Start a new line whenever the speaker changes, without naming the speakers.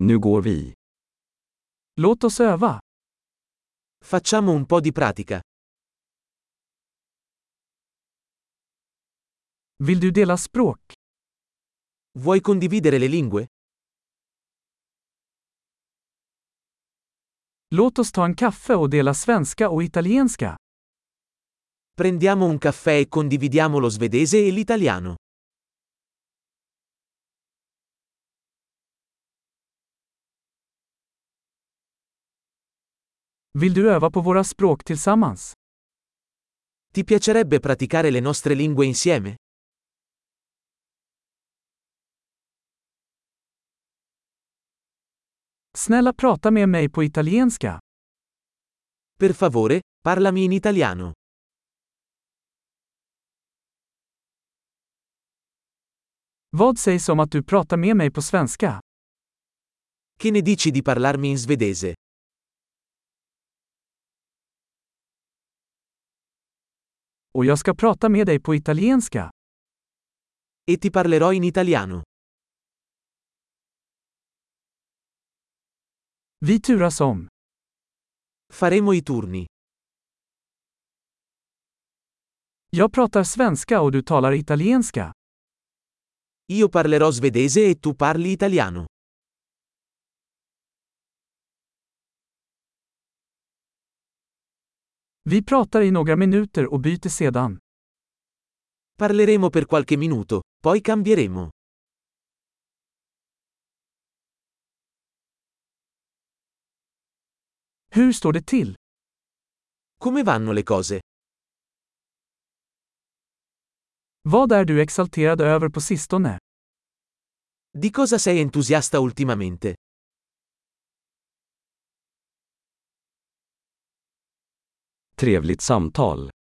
Nu går vi.
Låt oss öva.
Facciamo un po' di pratica.
Vill du dela språk?
Vuoi condividere le lingue?
Låt oss ta en kaffe och dela svenska och italienska.
Prendiamo un caffè e condividiamo lo svedese e l'italiano.
Vill du öva på våra språk tillsammans?
Ti piacerebbe praticare le nostre lingue insieme?
Snälla prata med mig på italienska.
Per favore, parlami in italiano.
Vad sägs om att du pratar med mig på svenska?
Che ne dici di parlarmi in svedese?
Och jag ska prata med dig på italienska.
E ti parlerò in italiano.
Vi turas om.
Faremo i turni.
Jag pratar svenska och du talar italienska.
Io parlerò svedese e tu parli italiano.
Vi pratar i några minuter och byter sedan.
Parleremo per qualche minuto, poi cambieremo.
Hur står det till?
Come vanno le cose?
Vad är du exalterad över på sistone?
Di cosa sei entusiasta ultimamente?
Trevligt samtal.